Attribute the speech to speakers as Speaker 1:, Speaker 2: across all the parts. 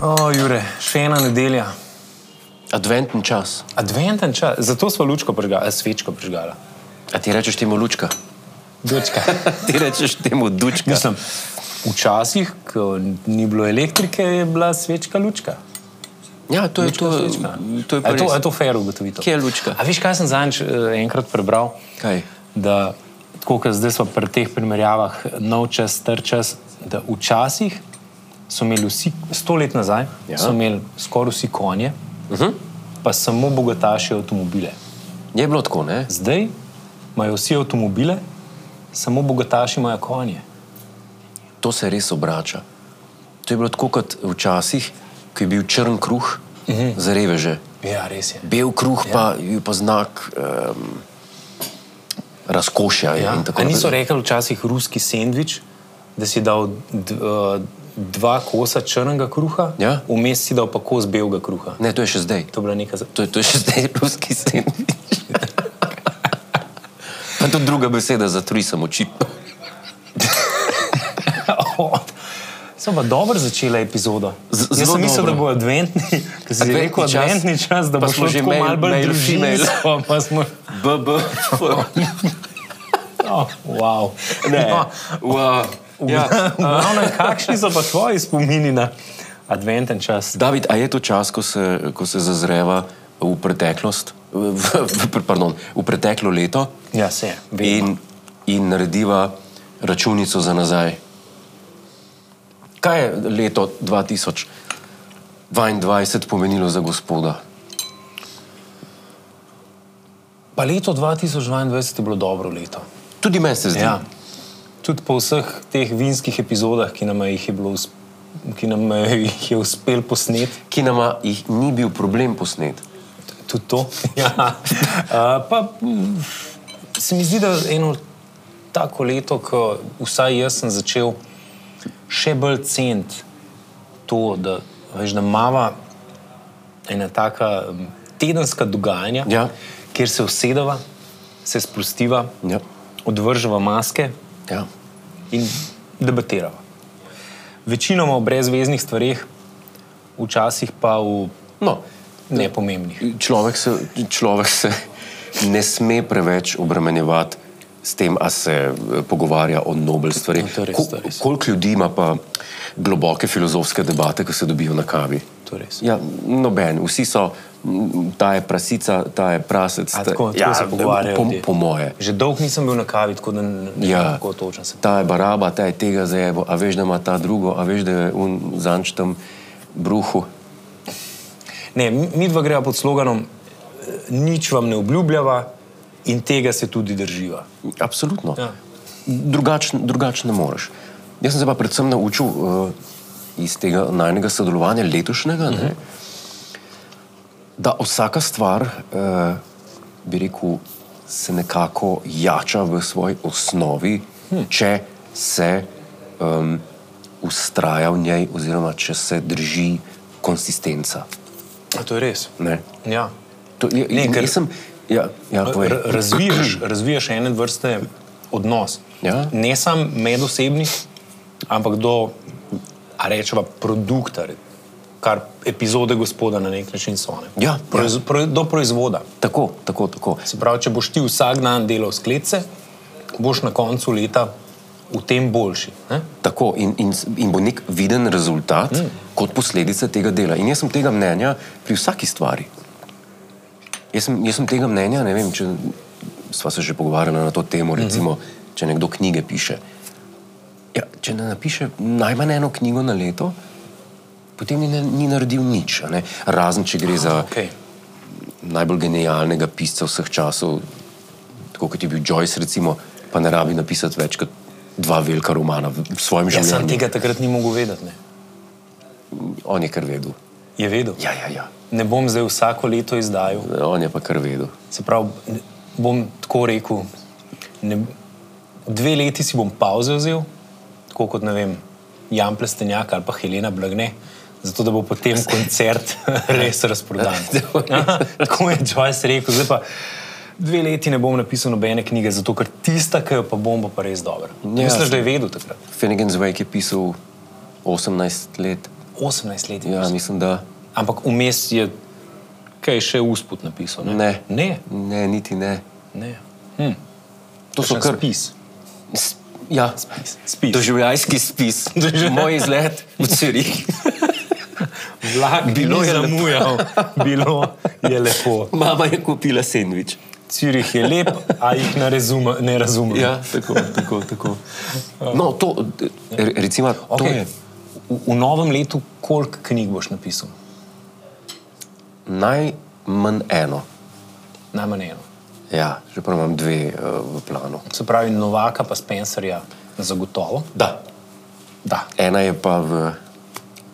Speaker 1: O, Jure, še ena nedelja.
Speaker 2: Adventen čas.
Speaker 1: Adventen čas, zato smo lučko prižgali, svečko prižgala.
Speaker 2: A ti rečeš temu lučka?
Speaker 1: Dučka.
Speaker 2: Ti rečeš temu dučka.
Speaker 1: Mislim, včasih, ko ni bilo elektrike, je bila svečka lučka.
Speaker 2: Ja, to je
Speaker 1: Lučka,
Speaker 2: to.
Speaker 1: svečka.
Speaker 2: To je
Speaker 1: A
Speaker 2: pa
Speaker 1: je to, a je
Speaker 2: res.
Speaker 1: to fair ugotovitev.
Speaker 2: Kje je lučka?
Speaker 1: A veš, kaj sem zadnjič eh, enkrat prebral?
Speaker 2: Kaj?
Speaker 1: Da, tako kot zdaj smo pri teh primerjavah, nov čas, star čas, da včasih so imeli vsi, sto let nazaj,
Speaker 2: Ja.
Speaker 1: ja. so imeli skoraj vsi konje,
Speaker 2: Uh -huh.
Speaker 1: pa samo bogataši avtomobile.
Speaker 2: Je bilo tako, ne?
Speaker 1: Zdaj imajo vsi avtomobile, samo bogataši imajo konje.
Speaker 2: To se res obrača. To je bilo tako kot včasih, ko je bil črn kruh uh -huh. za reveže.
Speaker 1: Ja, res je.
Speaker 2: Bel kruh ja. pa je pa znak um, razkošja.
Speaker 1: Ja.
Speaker 2: in tako
Speaker 1: A niso
Speaker 2: naprej.
Speaker 1: rekli včasih ruski sendvič, da si dal d, uh, dva kosa črnega kruha,
Speaker 2: Ja.
Speaker 1: vmes si dal pa kos belega kruha.
Speaker 2: Ne, to je še zdaj.
Speaker 1: To je bila neka zadeva.
Speaker 2: To je, to je še zdaj ruski sendvič. Pa tudi druga beseda za tri samo oči.
Speaker 1: Sem pa dobro začela epizodo.
Speaker 2: Z-
Speaker 1: Jaz
Speaker 2: zelo
Speaker 1: sem mislil,
Speaker 2: dobro.
Speaker 1: da bo adventni, ker si
Speaker 2: Adventni
Speaker 1: rekel,
Speaker 2: čas,
Speaker 1: adventni čas, da
Speaker 2: pa
Speaker 1: bo
Speaker 2: smo
Speaker 1: šlo
Speaker 2: že
Speaker 1: že
Speaker 2: mail-
Speaker 1: malo bolj
Speaker 2: mail,
Speaker 1: družinsko. pa Smo,
Speaker 2: BB.
Speaker 1: oh, wow.
Speaker 2: Ne.
Speaker 1: No,
Speaker 2: Wow.
Speaker 1: ja.
Speaker 2: Ja.
Speaker 1: kakšni so pa tvoji spomini na adventen čas?
Speaker 2: David, a je to čas, ko se, ko se zazreva v preteklost, v, v, v- pardon, v preteklo leto
Speaker 1: Ja, se je. vedno.
Speaker 2: in, in narediva računico za nazaj? Kaj je leto 2022 pomenilo za gospoda?
Speaker 1: Pa leto 2022 je bilo dobro leto.
Speaker 2: Tudi meni se zdi.
Speaker 1: Ja. Tudi po vseh teh vinskih epizodah, ki nam jih je bilo usp- ki nam eh, jih je uspel posneti,
Speaker 2: ki nama jih ni bil problem posnet.
Speaker 1: tudi to. Ja. Uh, pa mm, se mi zdi, da eno tako leto, ko vsaj jaz sem začel še bolj ceniti to, da, veš, da mava ena taka mm, tedenska dogajanja,
Speaker 2: Ja.
Speaker 1: kjer se usedeva, se sprostiva,
Speaker 2: Ja.
Speaker 1: odvrževa maske
Speaker 2: Ja.
Speaker 1: in debatirava. Večinoma o brezveznih stvarih, včasih pa o
Speaker 2: No,
Speaker 1: nepomembnih.
Speaker 2: človek, se, človek se ne sme preveč obremenjevati s tem, a se eh, pogovarja o nobel stvari.
Speaker 1: No, to je res, to je res.
Speaker 2: koliko ljudi ima pa globoke filozofske debate, ko se dobijo na kavi?
Speaker 1: To je res.
Speaker 2: Ja, noben, vsi so, mm, ta je prasica, ta je prasec.
Speaker 1: A
Speaker 2: ta-
Speaker 1: tako- tako
Speaker 2: ja,
Speaker 1: se pogovarjajo
Speaker 2: Po,
Speaker 1: ljudje.
Speaker 2: po moje.
Speaker 1: Že dolgo nisem bil na kavi, tako da ne ne
Speaker 2: Ja.
Speaker 1: vem, kako točno se.
Speaker 2: ta je baraba, ta je tega zajebo, a veš, da ima ta drugo, a veš, da je un zanč tam bruhu.
Speaker 1: Ne, mi mi dva greva pod sloganom, eh, nič vam ne obljubljava in tega se tudi drživa.
Speaker 2: Absolutno.
Speaker 1: Ja.
Speaker 2: Drugačn- Drugače drugač ne moreš. Jaz sem se pa predvsem naučil uh, iz tega najnega sodelovanja letošnjega, uh -huh. ne, da vsaka stvar, uh, bi rekel, se nekako jača v svoji osnovi,
Speaker 1: Hm.
Speaker 2: hmm. če se um, ustraja v njej, oziroma če se drži konsistenca.
Speaker 1: A to je res.
Speaker 2: Ne.
Speaker 1: Ja.
Speaker 2: To, je, ne,
Speaker 1: ker-
Speaker 2: ker sem. Ja, ja, povej.
Speaker 1: R- Razvijaš, razvijaš ene vrste odnos.
Speaker 2: Ja.
Speaker 1: Ne samo medosebni, ampak do, a rečeva, produkta, re- kar epizode gospoda na nek način so. Ne?
Speaker 2: Ja,
Speaker 1: Proiz, pro, do proizvoda.
Speaker 2: tako, tako, tako.
Speaker 1: Se pravi, če boš ti vsak dan delal sklece, boš na koncu leta v tem boljši. Ne?
Speaker 2: Tako, in, in, s- in bo nek viden rezultat mm. kot posledica tega dela. In jaz sem tega mnenja pri vsaki stvari. Jaz sem, jaz sem tega mnenja, ne vem, če smo se že pogovarjali na to temo, recimo, mm -hmm. če nekdo knjige piše. Ja, če ne napiše najmanj eno knjigo na leto, potem ni, na- ni naredil nič. a ne. Razen, če gre za
Speaker 1: Okay.
Speaker 2: najbolj genialnega pisca vseh časov, tako kot je bil Joyce, recimo, pa ne rabi napisati več kot dva velika romana v v svojem
Speaker 1: Jaz Ja, sem
Speaker 2: življenju.
Speaker 1: tega takrat ni mogel vedeti. Ne?
Speaker 2: On je kar vedel.
Speaker 1: Je vedel.
Speaker 2: Ja, ja, ja.
Speaker 1: Ne bom zdaj vsako leto izdajal.
Speaker 2: On je pa kar vedel.
Speaker 1: Se pravi, ne- bom tako rekel, ne, dve leti si bom pauze vzel, tako kot ne vem, Jan Plestenjak ali pa Helena Blagne, Zato, da bo potem koncert res razprodan. Tako je Joyce rekel, zdaj pa dve leti ne bom napisal nobene knjige, zato ker tista, ki jo pa bom, bo pa res dobra.
Speaker 2: Ja,
Speaker 1: Misliš,
Speaker 2: jasno.
Speaker 1: da je vedel takrat?
Speaker 2: Finnegan's Wake je pisal 18 let.
Speaker 1: 18 let. je
Speaker 2: Ja,
Speaker 1: bil.
Speaker 2: mislim, da
Speaker 1: Ampak vmes je kaj še usput napisal. Ne.
Speaker 2: ne.
Speaker 1: Ne.
Speaker 2: Ne, niti ne.
Speaker 1: ne.
Speaker 2: To so kar
Speaker 1: spis.
Speaker 2: S- Ja,
Speaker 1: Spis. spis.
Speaker 2: doživljajski spis.
Speaker 1: Doživ-
Speaker 2: Moj izlet v Cirih.
Speaker 1: Vlak
Speaker 2: Bilo
Speaker 1: bilo je
Speaker 2: je lepo.
Speaker 1: zamujal, bilo je lepo.
Speaker 2: Mama je kupila sendvič.
Speaker 1: Cirih je lep, a jih ne, razuma, ne razumem.
Speaker 2: Ja, tako, tako, tako. No, to, re- recimo, to
Speaker 1: Okej.
Speaker 2: je
Speaker 1: V, v novem letu, koliko knjig boš napisal?
Speaker 2: najmanj eno.
Speaker 1: Najmanj eno.
Speaker 2: Ja, že prvo imam dve uh, v planu.
Speaker 1: Se pravi, Novaka pa Spencerja, zagotovo.
Speaker 2: Da.
Speaker 1: Da.
Speaker 2: Ena je pa v,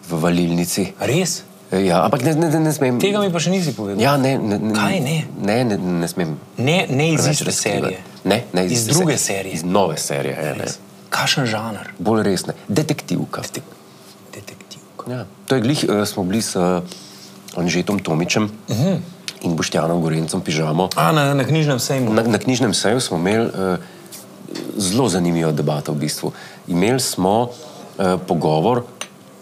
Speaker 2: v valilnici.
Speaker 1: Res?
Speaker 2: Ja, ampak ne, ne, ne, ne smem.
Speaker 1: Tega mi pa še nisi povedal.
Speaker 2: Ja, ne, ne, ne,
Speaker 1: Kaj ne?
Speaker 2: Ne, ne, ne smem.
Speaker 1: Ne, ne iz
Speaker 2: preveč
Speaker 1: iste
Speaker 2: razkrivati.
Speaker 1: serije.
Speaker 2: Ne, ne iz,
Speaker 1: Iz
Speaker 2: iste
Speaker 1: druge serije.
Speaker 2: Iz nove serije. Je, ne.
Speaker 1: Kakšen žanr?
Speaker 2: Bolj resne. Detektivka.
Speaker 1: Detektivka.
Speaker 2: Ja. To je glih, uh, smo bili s uh, Anžetom Tomičem uh
Speaker 1: Mhm.
Speaker 2: -huh. in Boštjanom Gorencem pižamo.
Speaker 1: A, na, na knjižnem sejmu.
Speaker 2: Na, na knjižnem seju smo imeli uh, zelo zanimivo debato. V bistvu. Imeli smo uh, pogovor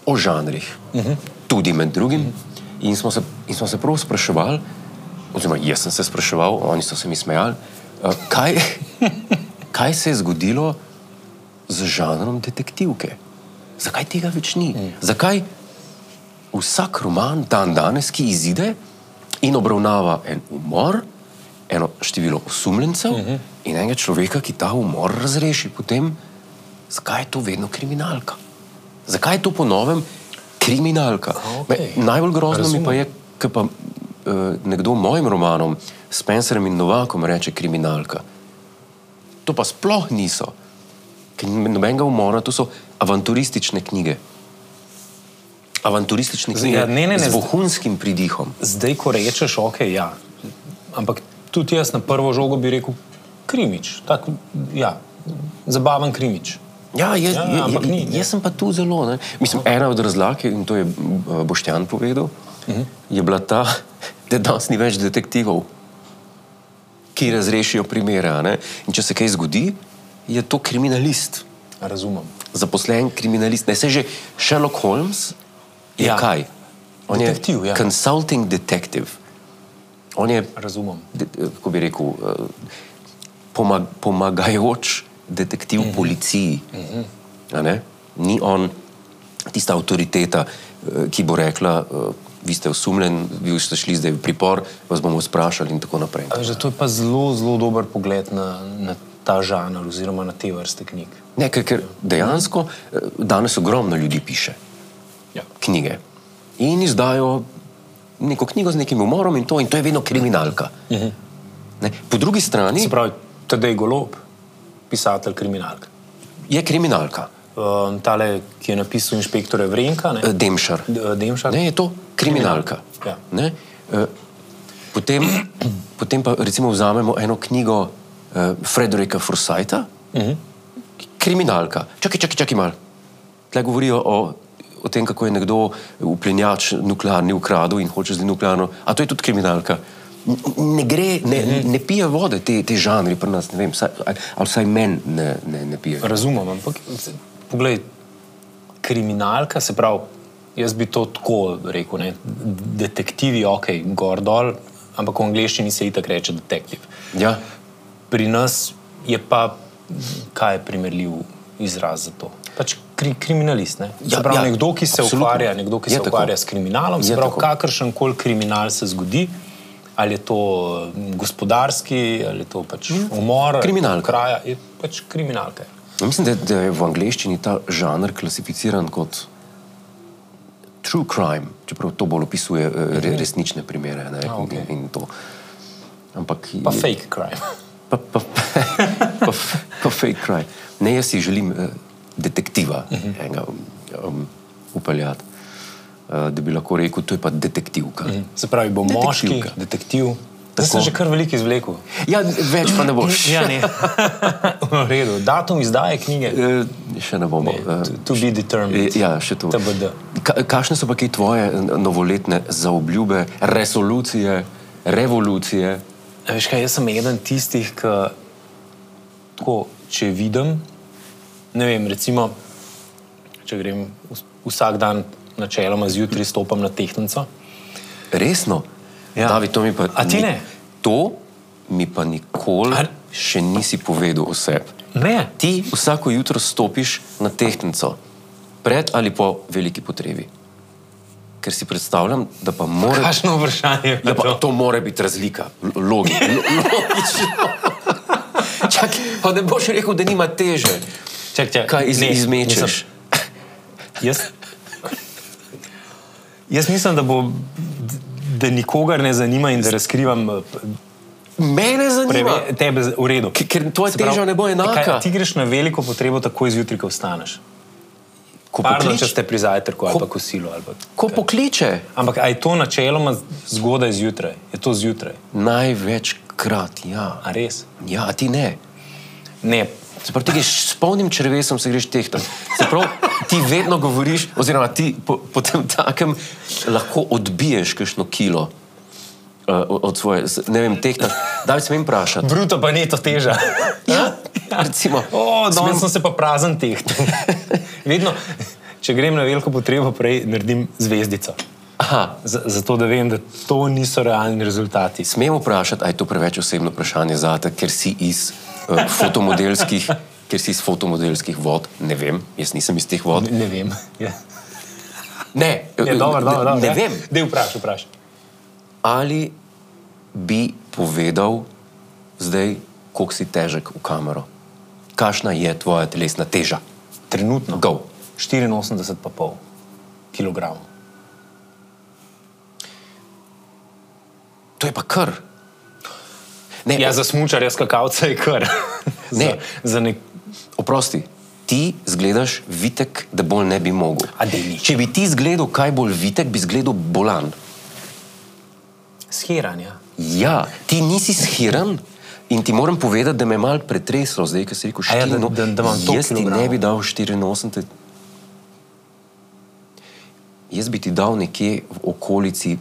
Speaker 2: o žanrih, uh -huh. tudi med drugim, uh -huh. in, smo se, in smo se prav spraševali, oziroma jaz sem se spraševal, oni so se mi smejali, uh, kaj, kaj se je zgodilo z žanrom detektivke. Zakaj tega več ni? Mm. Zakaj vsak roman dan danes, ki izide in obravnava en umor, eno število osumljencev mm
Speaker 1: Mhm.
Speaker 2: -hmm. in enega človeka, ki ta umor razreši, potem zakaj je to vedno kriminalka? Zakaj je to po novem kriminalka?
Speaker 1: okej.
Speaker 2: Me, najbolj grozno Razumem.
Speaker 1: Razumem.
Speaker 2: mi pa je, ko pa uh, nekdo mojim romanom, Spencerjem in Novakom, reče kriminalka. To pa sploh niso. Ker ni Nobenega umora, to so avanturistične knjige. Avanturistične knjige
Speaker 1: ja, ne, ne, ne,
Speaker 2: z
Speaker 1: z-
Speaker 2: vohunskim pridihom.
Speaker 1: Zdaj, ko rečeš, ok, ja. Ampak tudi jaz na prvo žogo bi rekel, krimič. Tak, ja, zabaven krimič.
Speaker 2: Ja, jaz,
Speaker 1: Ja,
Speaker 2: ja, jaz,
Speaker 1: ampak ni,
Speaker 2: jaz,
Speaker 1: ne.
Speaker 2: jaz sem pa tu zelo. Ne. Mislim, ena od razlag, je, in to je eh, Boštjan povedal,
Speaker 1: Mhm.
Speaker 2: je bila ta, da danes ni več detektivov, ki razrešijo primere. a ne. In če se kaj zgodi, je to kriminalist,
Speaker 1: Razumem.
Speaker 2: zaposlen kriminalist. Ne se že Sherlock Holmes je
Speaker 1: Ja.
Speaker 2: ja. kaj? On
Speaker 1: Detektiv,
Speaker 2: je
Speaker 1: ja.
Speaker 2: consulting detective. On je
Speaker 1: Razumem.
Speaker 2: de- eh, kako bi rekel, eh, pomag, pomagajoč detektiv
Speaker 1: Mhm.
Speaker 2: mm -hmm. policiji. Mm -hmm. Ni on tista avtoriteta, eh, ki bo rekla, eh, vi ste osumljen, vi ste šli zdaj v pripor, vas bomo sprašali in tako naprej.
Speaker 1: A veš, da To je pa zelo, zelo dober pogled na, na ta žanr oziroma na te vrste knjig.
Speaker 2: Ne, ker, ker dejansko eh, danes ogromno ljudi piše
Speaker 1: Ja.
Speaker 2: knjige in izdajo neko knjigo z nekim umorom in to, in to je vedno kriminalka. Mm -hmm. Ne, po drugi strani
Speaker 1: Se pravi, Tadej Golob, pisatelj kriminalk.
Speaker 2: je kriminalka,
Speaker 1: Um, tale, ki je napisal inšpektore Vrenka, ne?
Speaker 2: eh, Demšar.
Speaker 1: D- Demšar.
Speaker 2: Ne, je to kriminalka.
Speaker 1: Ja.
Speaker 2: Ne? Eh, Potem, potem pa recimo vzamemo eno knjigo eh, Frederika Forsyta, uh
Speaker 1: Mhm.
Speaker 2: -huh. kriminalka. Čakaj, čakaj, čakaj malo. Tle govorijo o, o tem, kako je nekdo uplenjač nuklearni ukradel in hoče zdaj nuklearno. A to je tudi kriminalka. N- Ne gre, ne, uh
Speaker 1: Mhm.
Speaker 2: -huh. ne pije vode te, te žanri pri nas, ne vem, vsaj, ali- ali vsaj meni ne, ne, ne pije.
Speaker 1: Razumem, ampak se- poglej, kriminalka, se pravi, jaz bi to tako rekel, ne? detektivi, ok, gor dol, ampak v angleščini se itak reče detektiv.
Speaker 2: Ja.
Speaker 1: Pri nas je pa, kaj je primerljiv izraz za to? Pač kri, kriminalist. Ne?
Speaker 2: Ja,
Speaker 1: Ja, pravi,
Speaker 2: ja,
Speaker 1: ja, nekdo, ki se
Speaker 2: absolutno.
Speaker 1: absolutno. ukvarja, nekdo, ki
Speaker 2: Je
Speaker 1: se
Speaker 2: tako.
Speaker 1: ukvarja s kriminalom, se
Speaker 2: Je
Speaker 1: pravi,
Speaker 2: tako.
Speaker 1: kakršen koli kriminal se zgodi. Ali je to mm, gospodarski, ali je to pač umor,
Speaker 2: Mm. Kriminalka.
Speaker 1: kraja, je pač kriminalka. je.
Speaker 2: Ja, Mislim, da, da je v angleščini ta žanr klasificiran kot true crime, čeprav to bolj opisuje eh, re, resnične primere. Ne,
Speaker 1: Mhm. A, okej.
Speaker 2: in, in to. Ampak
Speaker 1: Pa
Speaker 2: je-
Speaker 1: fake crime.
Speaker 2: Pa, pa, pa, f- pa fake crime. Ne, jaz si želim eh, detektiva
Speaker 1: Mhm.
Speaker 2: uh -huh. enega, um, upeljati, eh, da bi lahko rekel, to je pa detektivka. Uh -huh.
Speaker 1: Mhm. Se pravi, bo moški,
Speaker 2: Detektivka.
Speaker 1: detektiv, Zdaj sem že kar veliko izvlekel.
Speaker 2: Ja, več pa ne boš.
Speaker 1: Ja, ne. v redu. Datum izdaje knjige.
Speaker 2: Eh, Še ne bomo.
Speaker 1: Ne,
Speaker 2: eh,
Speaker 1: to- to be determined.
Speaker 2: Ja, še to.
Speaker 1: TBD.
Speaker 2: Ka- Kakšne so pa kaj tvoje novoletne zaobljube, resolucije, revolucije?
Speaker 1: A Veš kaj, jaz sem eden tistih, ki tako, če vidim, ne vem, recimo, če grem vs- vsak dan načeloma zjutraj stopam na tehtnico.
Speaker 2: Resno?
Speaker 1: Ja.
Speaker 2: David, to mi pa
Speaker 1: A ti
Speaker 2: ni-
Speaker 1: ne?
Speaker 2: To mi pa nikoli
Speaker 1: A-
Speaker 2: še nisi povedal o sebi.
Speaker 1: Ne,
Speaker 2: Ti vsako jutro stopiš na tehtnico, pred ali po veliki potrebi. Ker si predstavljam, da pa mora
Speaker 1: kakšno vprašanje je
Speaker 2: Ja,
Speaker 1: bilo
Speaker 2: pa,
Speaker 1: to?
Speaker 2: to mora biti razlika, L- logi, lo- logično. Čak, pa ne boš rekel, da nima teže.
Speaker 1: Čak, čak,
Speaker 2: Kaj iz,
Speaker 1: ne,
Speaker 2: ne, izmečeš?
Speaker 1: mislim, Jaz, jaz mislim, da, bo, da nikogar ne zanima in da razkrivam eh,
Speaker 2: Mene zanima.
Speaker 1: preve, tebe z- v redu.
Speaker 2: K- ker tvoja
Speaker 1: Se pravi,
Speaker 2: teža ne bo enaka.
Speaker 1: Kaj, ti greš na veliko potrebo takoj zjutraj, ko vstaneš.
Speaker 2: Ko
Speaker 1: Parno, če
Speaker 2: pokliče,
Speaker 1: ste pri zajtrku ali
Speaker 2: Ko-
Speaker 1: pa kosilu. Ali pa.
Speaker 2: ko pokliče,
Speaker 1: Ampak a je to načeloma zgodaj zjutraj? Je to zjutraj?
Speaker 2: največkrat, ja.
Speaker 1: A res?
Speaker 2: Ja, a ti ne.
Speaker 1: Ne.
Speaker 2: Se pravi, ti greš s polnim črevesom, se greš tehtam. Se pravi, ti vedno govoriš, oziroma ti po, po tem takem lahko odbiješ kakšno kilo uh, od svoje, s- ne vem, tehtam. Daj se mi vprašati.
Speaker 1: Bruto pa ne to teža.
Speaker 2: Ja, recimo.
Speaker 1: O, no. danes
Speaker 2: Smem-
Speaker 1: Smem... sem se pa prazen tehtal. Vedno, če grem na veliko potrebo, prej naredim zvezdico.
Speaker 2: Aha,
Speaker 1: Z zato, da vem, da to niso realni rezultati.
Speaker 2: smem vprašati, ali je to preveč osebno vprašanje za te, ker si iz uh, fotomodelskih. Ker si iz fotomodelskih vod, ne vem, jaz nisem iz teh vod.
Speaker 1: Ne, ne vem. Ja.
Speaker 2: Ne, eh,
Speaker 1: Je, dober, dober,
Speaker 2: ne,
Speaker 1: dober,
Speaker 2: ne vem.
Speaker 1: Dej ja. vprašaj, vprašaj.
Speaker 2: Ali bi povedal, zdaj, koliko si težek v kamero? Kakšna je tvoja telesna teža?
Speaker 1: Trenutno
Speaker 2: Go.
Speaker 1: 84,5 kg.
Speaker 2: To je pa kar. Ne,
Speaker 1: Ja, za smočarja skakavca je kar. za,
Speaker 2: Ne.
Speaker 1: za nek...
Speaker 2: Oprosti, ti zgledaš vitek, da bolj ne bi mogel.
Speaker 1: A daj ni.
Speaker 2: Če bi ti zgledal kaj bolj vitek, bi zgledal bolan.
Speaker 1: Shiranja.
Speaker 2: Ja, ti nisi shiran in ti moram povedati, da me je malo pretreslo, zdaj, ko si rekel
Speaker 1: A ja,
Speaker 2: 4
Speaker 1: da- da- da imam toliko
Speaker 2: Jaz ti ne
Speaker 1: kilogramov.
Speaker 2: bi dal 84. Jaz bi ti dal nekje v okolici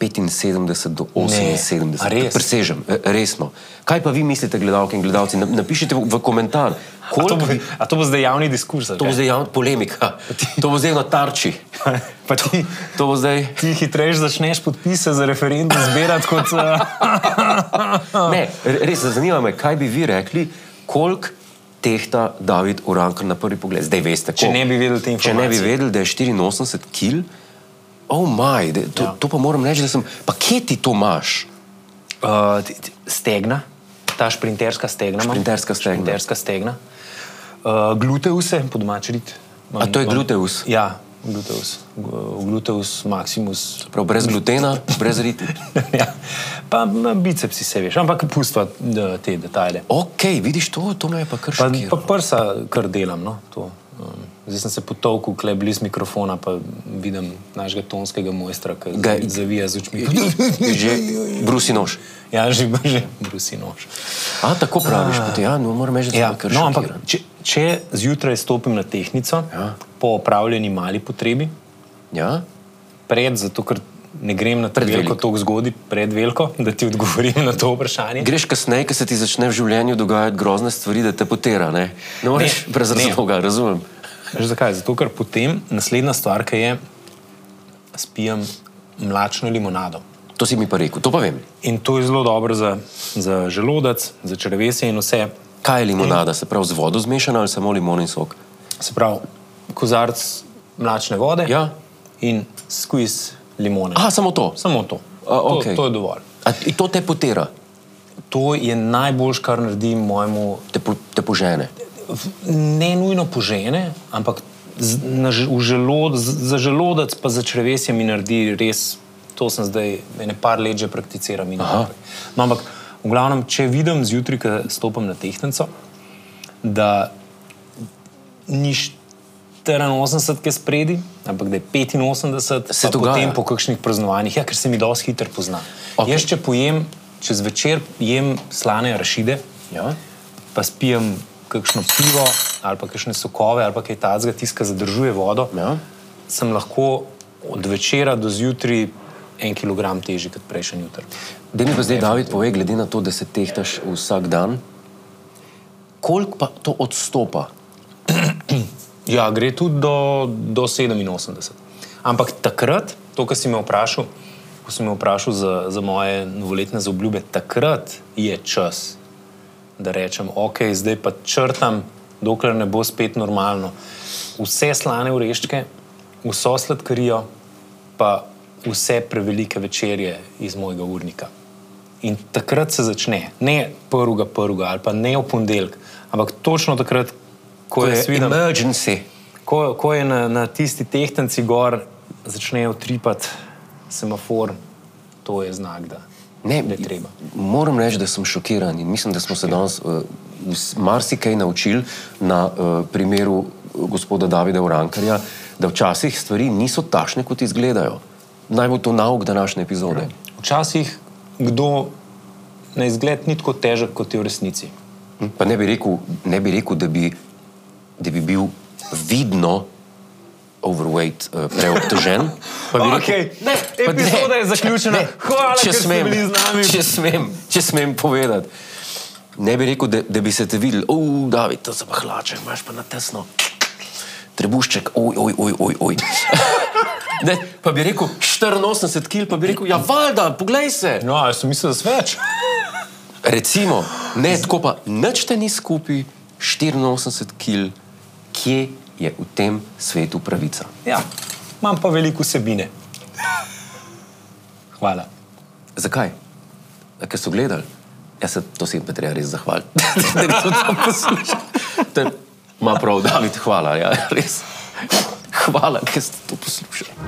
Speaker 2: 75 do
Speaker 1: Ne,
Speaker 2: 78.
Speaker 1: a res?
Speaker 2: Presežem, e, resno. Kaj pa vi mislite, gledalke in gledalci? Na- Napišite v, v komentar,
Speaker 1: A to,
Speaker 2: koliko
Speaker 1: bo, a to bo zdaj javni diskurs?
Speaker 2: To bo zdaj javna polemika, to bo zdaj na tarči.
Speaker 1: Pa ti,
Speaker 2: To bo zdaj.
Speaker 1: ti hitreje začneš podpise za referendum zbirati kot. Uh...
Speaker 2: Ne, re- res zanima me, kaj bi vi rekli, koliko tehta David Uranka na prvi pogled. Zdaj veste,
Speaker 1: Če
Speaker 2: koliko.
Speaker 1: ne bi vedel te
Speaker 2: Če ne bi
Speaker 1: informacije.
Speaker 2: vedeli, da je 84 kil, oh maj, da, to, ja. to pa moram reči, da sem. Pa kje ti to imaš?
Speaker 1: Uh, ti- ti- stegna, ta šprinterska stegna. imam.
Speaker 2: Šprinterska stegna.
Speaker 1: Šprinterska stegna. Uh, gluteuse, po domači rit.
Speaker 2: A to je gluteus?
Speaker 1: Ja, gluteus. Gu- Gluteus maximus.
Speaker 2: Prav brez glutena, brez ritma.
Speaker 1: ja. Pa m, bicepsi se veš, ampak pustiva d- te detajle.
Speaker 2: Ok, vidiš to, to me je pa kar
Speaker 1: Pa, pa
Speaker 2: šokiralo.
Speaker 1: prsa kar delam. No, to. Um, Zdaj sem se potovkal, klej blizu mikrofona, pa vidim našega tonskega mojstra, ki
Speaker 2: Ga-
Speaker 1: ga zavija z očmi.
Speaker 2: Že brusi nož.
Speaker 1: ja, že že brusi nož.
Speaker 2: A tako praviš, potem, ja, no, moram reči, da
Speaker 1: Ja,
Speaker 2: sem kar
Speaker 1: no,
Speaker 2: šokiran.
Speaker 1: ampak, če, če zjutraj stopim na tehnico,
Speaker 2: Ja.
Speaker 1: ja. po opravljeni mali potrebi,
Speaker 2: Ja?
Speaker 1: pred, zato ker ne grem na
Speaker 2: Pred
Speaker 1: veliko
Speaker 2: veliko.
Speaker 1: tako zgodaj, pred veliko, da ti odgovorim na to vprašanje.
Speaker 2: Greš kasneje, ker se ti začne v življenju dogajati grozne stvari, da te potera. Ne, ne moreš
Speaker 1: Ne,
Speaker 2: brez
Speaker 1: ne.
Speaker 2: razloga, razumem.
Speaker 1: Veš zakaj? Zato, ker potem naslednja stvar, ki je, spijem mlačno limonado.
Speaker 2: To si mi pa rekel, to pa vem.
Speaker 1: In to je zelo dobro za, za želodec, za črvesje in vse.
Speaker 2: Kaj je limonada, se pravi z vodo zmešana ali samo limonin sok?
Speaker 1: Se pravi, kozarc mlačne vode
Speaker 2: Ja.
Speaker 1: in skuiz limone.
Speaker 2: Aha, samo to.
Speaker 1: Samo to.
Speaker 2: A,
Speaker 1: to.
Speaker 2: okej.
Speaker 1: To je dovolj.
Speaker 2: A, ti- to te potera,
Speaker 1: To je najboljš, kar naredim mojemu,
Speaker 2: te, po, te požene.
Speaker 1: ne nujno požene, ampak z, na, ž- v želod, z, za želodec, pa za črvesje mi naredi res. To sem zdaj nekaj let že prakticiral. in
Speaker 2: Aha.
Speaker 1: naprej. No, ampak v glavnem, če vidim zjutraj, ko stopim na tehtnico, da ni 84, ki je spredi, ampak da je 85,
Speaker 2: Se
Speaker 1: pa
Speaker 2: dogaja.
Speaker 1: potem po kakšnih praznovanjih, ja, ker se mi dosti hitro pozna.
Speaker 2: Okej.
Speaker 1: Jaz, če pojem Če zvečer jem slane rašide,
Speaker 2: Ja.
Speaker 1: pa spijem kakšno pivo ali pa kakšne sokove ali pa kaj tacga, tiska zadržuje vodo,
Speaker 2: Ja.
Speaker 1: sem lahko od večera do zjutraj en kilogram težji kot prejšnji jutr.
Speaker 2: Da mi pa zdaj, David, pove, glede na to, da se tehtaš vsak dan, koliko pa to odstopa?
Speaker 1: Ja, gre tudi do, do 87. Ampak takrat, to, kar si me vprašal, ko si me vprašal za, za moje novoletne zaobljube, takrat je čas, da rečem, ok, zdaj pa črtam, dokler ne bo spet normalno. Vse slane ureščke, vso sladkarijo, pa vse prevelike večerje iz mojega urnika. In takrat se začne, ne prvega, prvega ali pa ne v ponedeljek, ampak točno takrat, ko, ko je svidem
Speaker 2: emergency.
Speaker 1: ko, ko je na, na tisti tehtenci gor začnejo tripati semafor, to je znak, da
Speaker 2: Ne,
Speaker 1: da je treba.
Speaker 2: Moram reči, da sem šokiran in mislim, da smo se danes uh, vs- marsikaj naučili na uh, primeru uh, gospoda Davida Urankarja, da včasih stvari niso takšne, kot izgledajo. Naj bo to nauk današnje epizode.
Speaker 1: Včasih kdo na izgled ni tako težek, kot je v resnici.
Speaker 2: Hm? Pa ne bi rekel, ne bi rekel da, bi, da bi bil vidno overweight, uh, preobtežen. pa bi
Speaker 1: Okej, ne, epizoda je zaključena. Hvala, ker ste bili z nami.
Speaker 2: Če smem, če smem povedati. Ne bi rekel, da, da bi se te videl, uf, David, to se pa hlače, imaš pa na tesno. Trebušček, oj, oj, oj, oj. oj. ne, pa bi rekel 84 kg, pa bi rekel, ja, valjda, poglej se.
Speaker 1: No, jaz sem mislil, da se več.
Speaker 2: Recimo, ne tako pa, nič te ni skupaj, 84 kg, kje je v tem svetu pravica?
Speaker 1: Ja, imam pa veliko vsebine. Hvala.
Speaker 2: Zakaj? A Ker so gledali. Jaz se to sem pa treba res zahvaliti, da je to tam poslušal. To je- Ima prav, David, hvala, ja, res. Hvala, ker ste to poslušali.